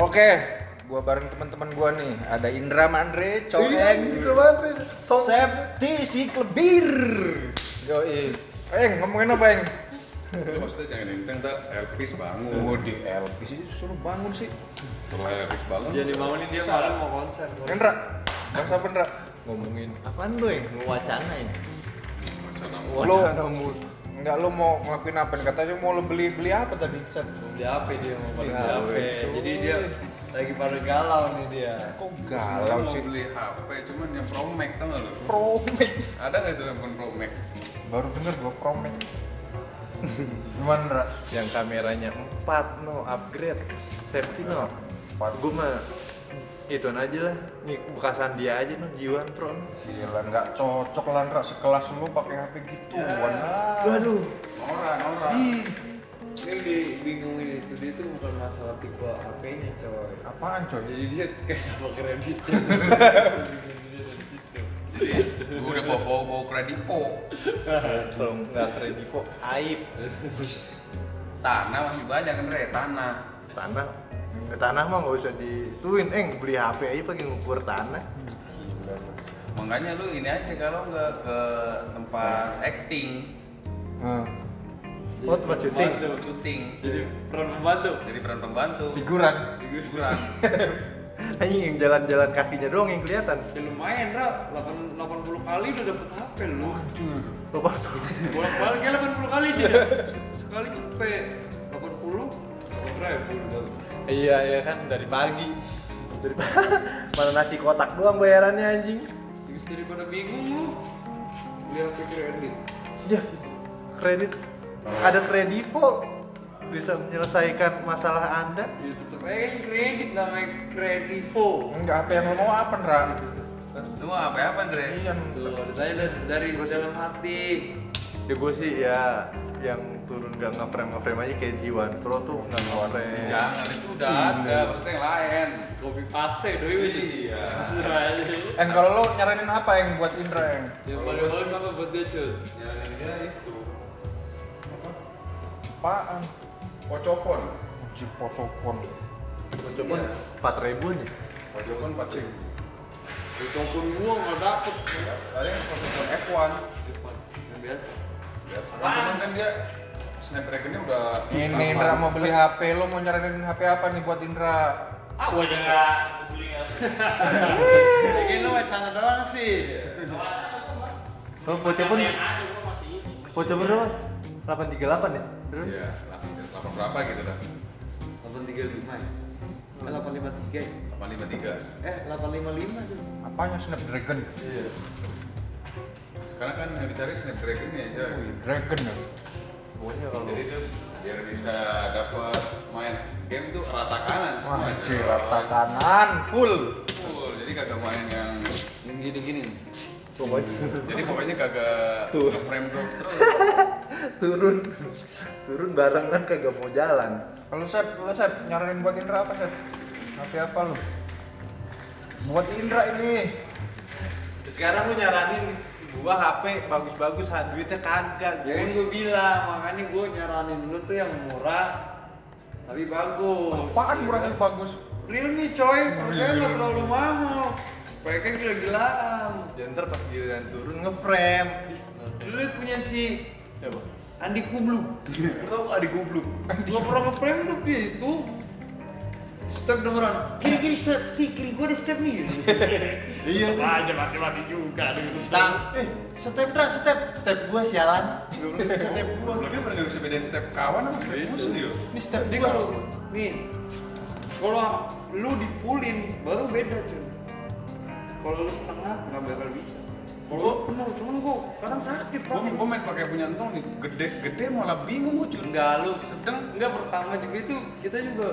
Oke, gua bareng teman-teman gua nih. Ada Indra Mandre, Iya, Coeng, gitu banget Riz. Song- Septi Siklebir. Yoi. Eng, ngomongin apa, Eng? Itu maksudnya jangan kenceng tak Elvis bangun di LP sih suruh bangun sih. setelah Elvis bangun Jadi mau nih Iya, dia malam mau konser. Indra, bahasa apa Indra? Ngomongin. Apaan lu yang mau wacana ini? wacana Lo Enggak lo mau ngelakuin apa? nih? Katanya mau lo beli beli apa tadi? Set. Di HP dia mau pada di Iya, HP. cuy. Jadi dia lagi pada galau nih dia. Kok Kalau galau mau sih? beli HP cuman yang promek tau gak lu? Promek. Ada gak itu handphone promek? Baru denger gua promek. Gimana, Indra? yang kameranya 4 no upgrade safety no Empat. gue mah ituan aja lah nih bekasan dia aja no jiwan pro no. Gila, nggak cocok lah Ndra sekelas lu pakai HP gitu. Waduh. aduh Nora, Nora Ih, Ini di bingungin itu dia tuh bukan masalah tipe HP-nya coy. apaan coy? Jadi dia kayak sama kreditnya. Jadi gue udah bawa-bawa kredipo kalau nggak kredit kok aib Tanah masih banyak kan re, tanah tanah Eh, tanah mah nggak usah dituin eng beli HP aja pakai ngukur tanah Makanya lu ini aja kalau nggak ke tempat acting Nah, Oh, tempat syuting. syuting Jadi peran pembantu. Jadi peran pembantu figuran. Figuran anjing yang jalan-jalan kakinya doang yang kelihatan Ya lumayan, Ra. 8- 80 kali udah dapet HP lu. lupa Bolak-balik kayak 80 kali sih. Sekali cepet 80 ribu udah. iya iya kan dari pagi dari mana nasi kotak doang bayarannya anjing Terus daripada bingung lu. Beli HP kredit. Ya, kredit ada kredivo bisa menyelesaikan masalah Anda. Ya tetep aja kredit namanya kredivo. Enggak apa yang lo mau apa Ndra? Lu mau apa-apa Andre? Iya. Tuh, ada tanya dari, dari dalam hati. Ya gue sih ya yang turun gak ngeframe ngeframe aja kayak Jiwan Pro tuh nggak Iya. ngeframe. Eh, Jangan, itu udah ada, maksudnya yang lain Kopi paste doi itu. Iya En kalau lo nyaranin apa yang buat Indra yang? Yang paling bagus apa buat dia cuy? Ya, ya itu Apaan? Pocopon Uji pocopon. Cuman Iya. empat ribu nih. Pocopon pacing Dicopot gua nggak dapet. Ada yang kan Pocopon F1 Yang biasa. Biasa Ah. kan, cuman kan dia Snapdragon-nya udah Ini Indra mau beli HP, lo mau nyaranin HP apa nih buat Indra? Ah, gua aja nggak beli ya. Jadi lu wacana doang sih. Oh, bocah pun, bocah pun berapa? Delapan tiga delapan ya. Dulu? Iya, 8 berapa gitu dah 835 ya? Eh, 853 ya? 853 Eh, 855 tuh. Apanya Snapdragon? Sekarang kan yang dicari Snapdragon-nya aja Wih, Dragon ya. Pokoknya kalau Jadi tuh biar bisa dapat main game tuh rata kanan semua Wah, cuy, rata kanan full. Full, jadi kagak main yang Yang gini-gini. pokoknya jadi pokoknya kagak Tuh. frame drop terus turun turun barengan kagak mau jalan. Kalau Sep, lo Sep, nyaranin buat Indra apa Sep? HP apa lo? Buat Indra ini. Sekarang lu nyaranin gua HP bagus-bagus duitnya kagak. Ya kan gue bilang, makanya gue nyaranin lu tuh yang murah tapi bagus. Apaan murah tapi bagus? Realme coy, harganya nggak terlalu mahal. Mereka gila-gilaan. Dan ntar pas giliran turun ngeframe. Lu liat punya si Ya, Bang. Andi Kubluk. Tau gak di gubluk? Gak pernah nge-frame lu dia itu. Step dengeran. Kiri-kiri step, kiri, kiri gue ada step nih. Iya. aja mati-mati juga Sang. Eh, step dra, step. Step gua sialan. step gua. belumnya pernah nggak bisa bedain step kawan sama step musuh dia Ini step Dia gua. kalau nih kalau lu dipulin baru beda tuh. Kalau lu setengah nggak bakal bisa. Kalau lu penuh, cuman gua kadang sakit gua, tapi gua main pakai punya entong nih gede-gede malah bingung gua cuy Enggak, lu- sedang nggak pertama juga itu kita juga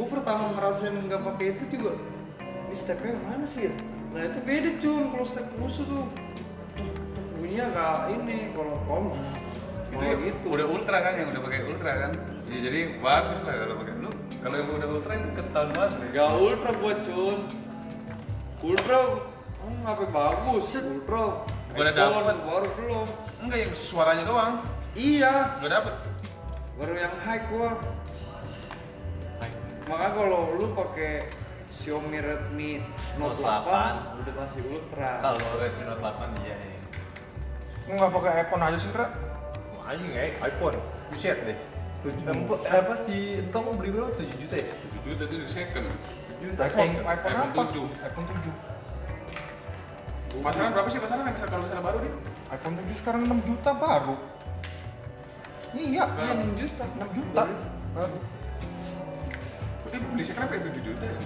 gua pertama ngerasain nggak pakai itu juga. Ini stepnya mana sih? ya? Nah itu beda cuy kalau step musuh tuh Tuh, tuh, bunyinya nggak ini kalau kom itu Oh, ya, gitu. udah ultra kan yang udah pakai ultra kan ya, jadi bagus lah kalau pakai lu kalau yang udah ultra itu ketan banget Re. Gak ultra gua cun Ultra hmm, apa bagus Ultra Gua udah iPhone dapet. Baru belum enggak yang suaranya doang Iya gak dapet Baru yang high gua Makanya kalau lu pakai Xiaomi Redmi Note Note 8, udah pasti ultra. Kalau Redmi Note 8 iya ya. Lu nggak pakai iPhone aja sih, Ra? Anjing ya, iPhone. Buset deh. Empo, apa sih Entong beli berapa? 7 juta ya? 7 juta itu di second. Juta iPhone, kayaknya. iPhone, apa? iPhone 7. iPhone 7. Pasaran berapa sih pasaran? Misal kalau misalnya baru nih? iPhone 7 sekarang 6 juta baru. Iya, Kan Sekarang. 6 juta, 6 juta. Baru. Berarti beli second apa ya 7 juta ya?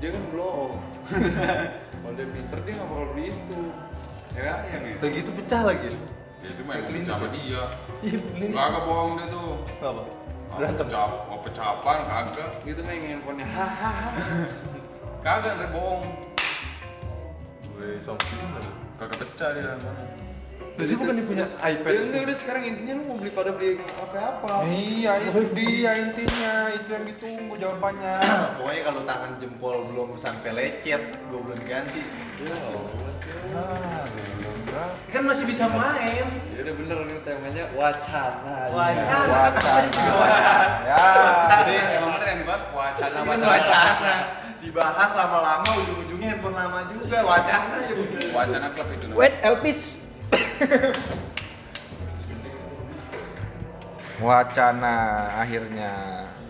Dia kan blow. kalau dia pinter dia nggak bakal beli itu. Ya kan? Sayang ya. Udah gitu pecah lagi. Ya itu mah Ya, emang clean pecah sama sih. dia. Iya, beli nih. Kagak bohong dia tuh. Apa? Mau Berantem. pecah, mau pecapan kagak. Gitu main handphonenya. Hahaha. Kagak dia bohong. Wih, sombong. Kagak pecah dia. Jadi bukan dia punya iPad. Eh. Ya enggak udah sekarang intinya lu mau beli pada beli apa-apa. Iya, itu dia intinya, itu yang ditunggu jawabannya. Pokoknya kalau tangan jempol belum sampai lecet, gue belum ganti. Ah, belum Ra. Kan masih bisa main. Ya udah bener nih temanya wacana. Wacana. Wacana. Ya. Jadi emang bener yang dibahas wacana Kan wacana wacana. Dibahas lama-lama ujung-ujungnya handphone lama juga. Wacana ya udah. Wacana klub itu namanya. Wait, Elvis. Wacana akhirnya.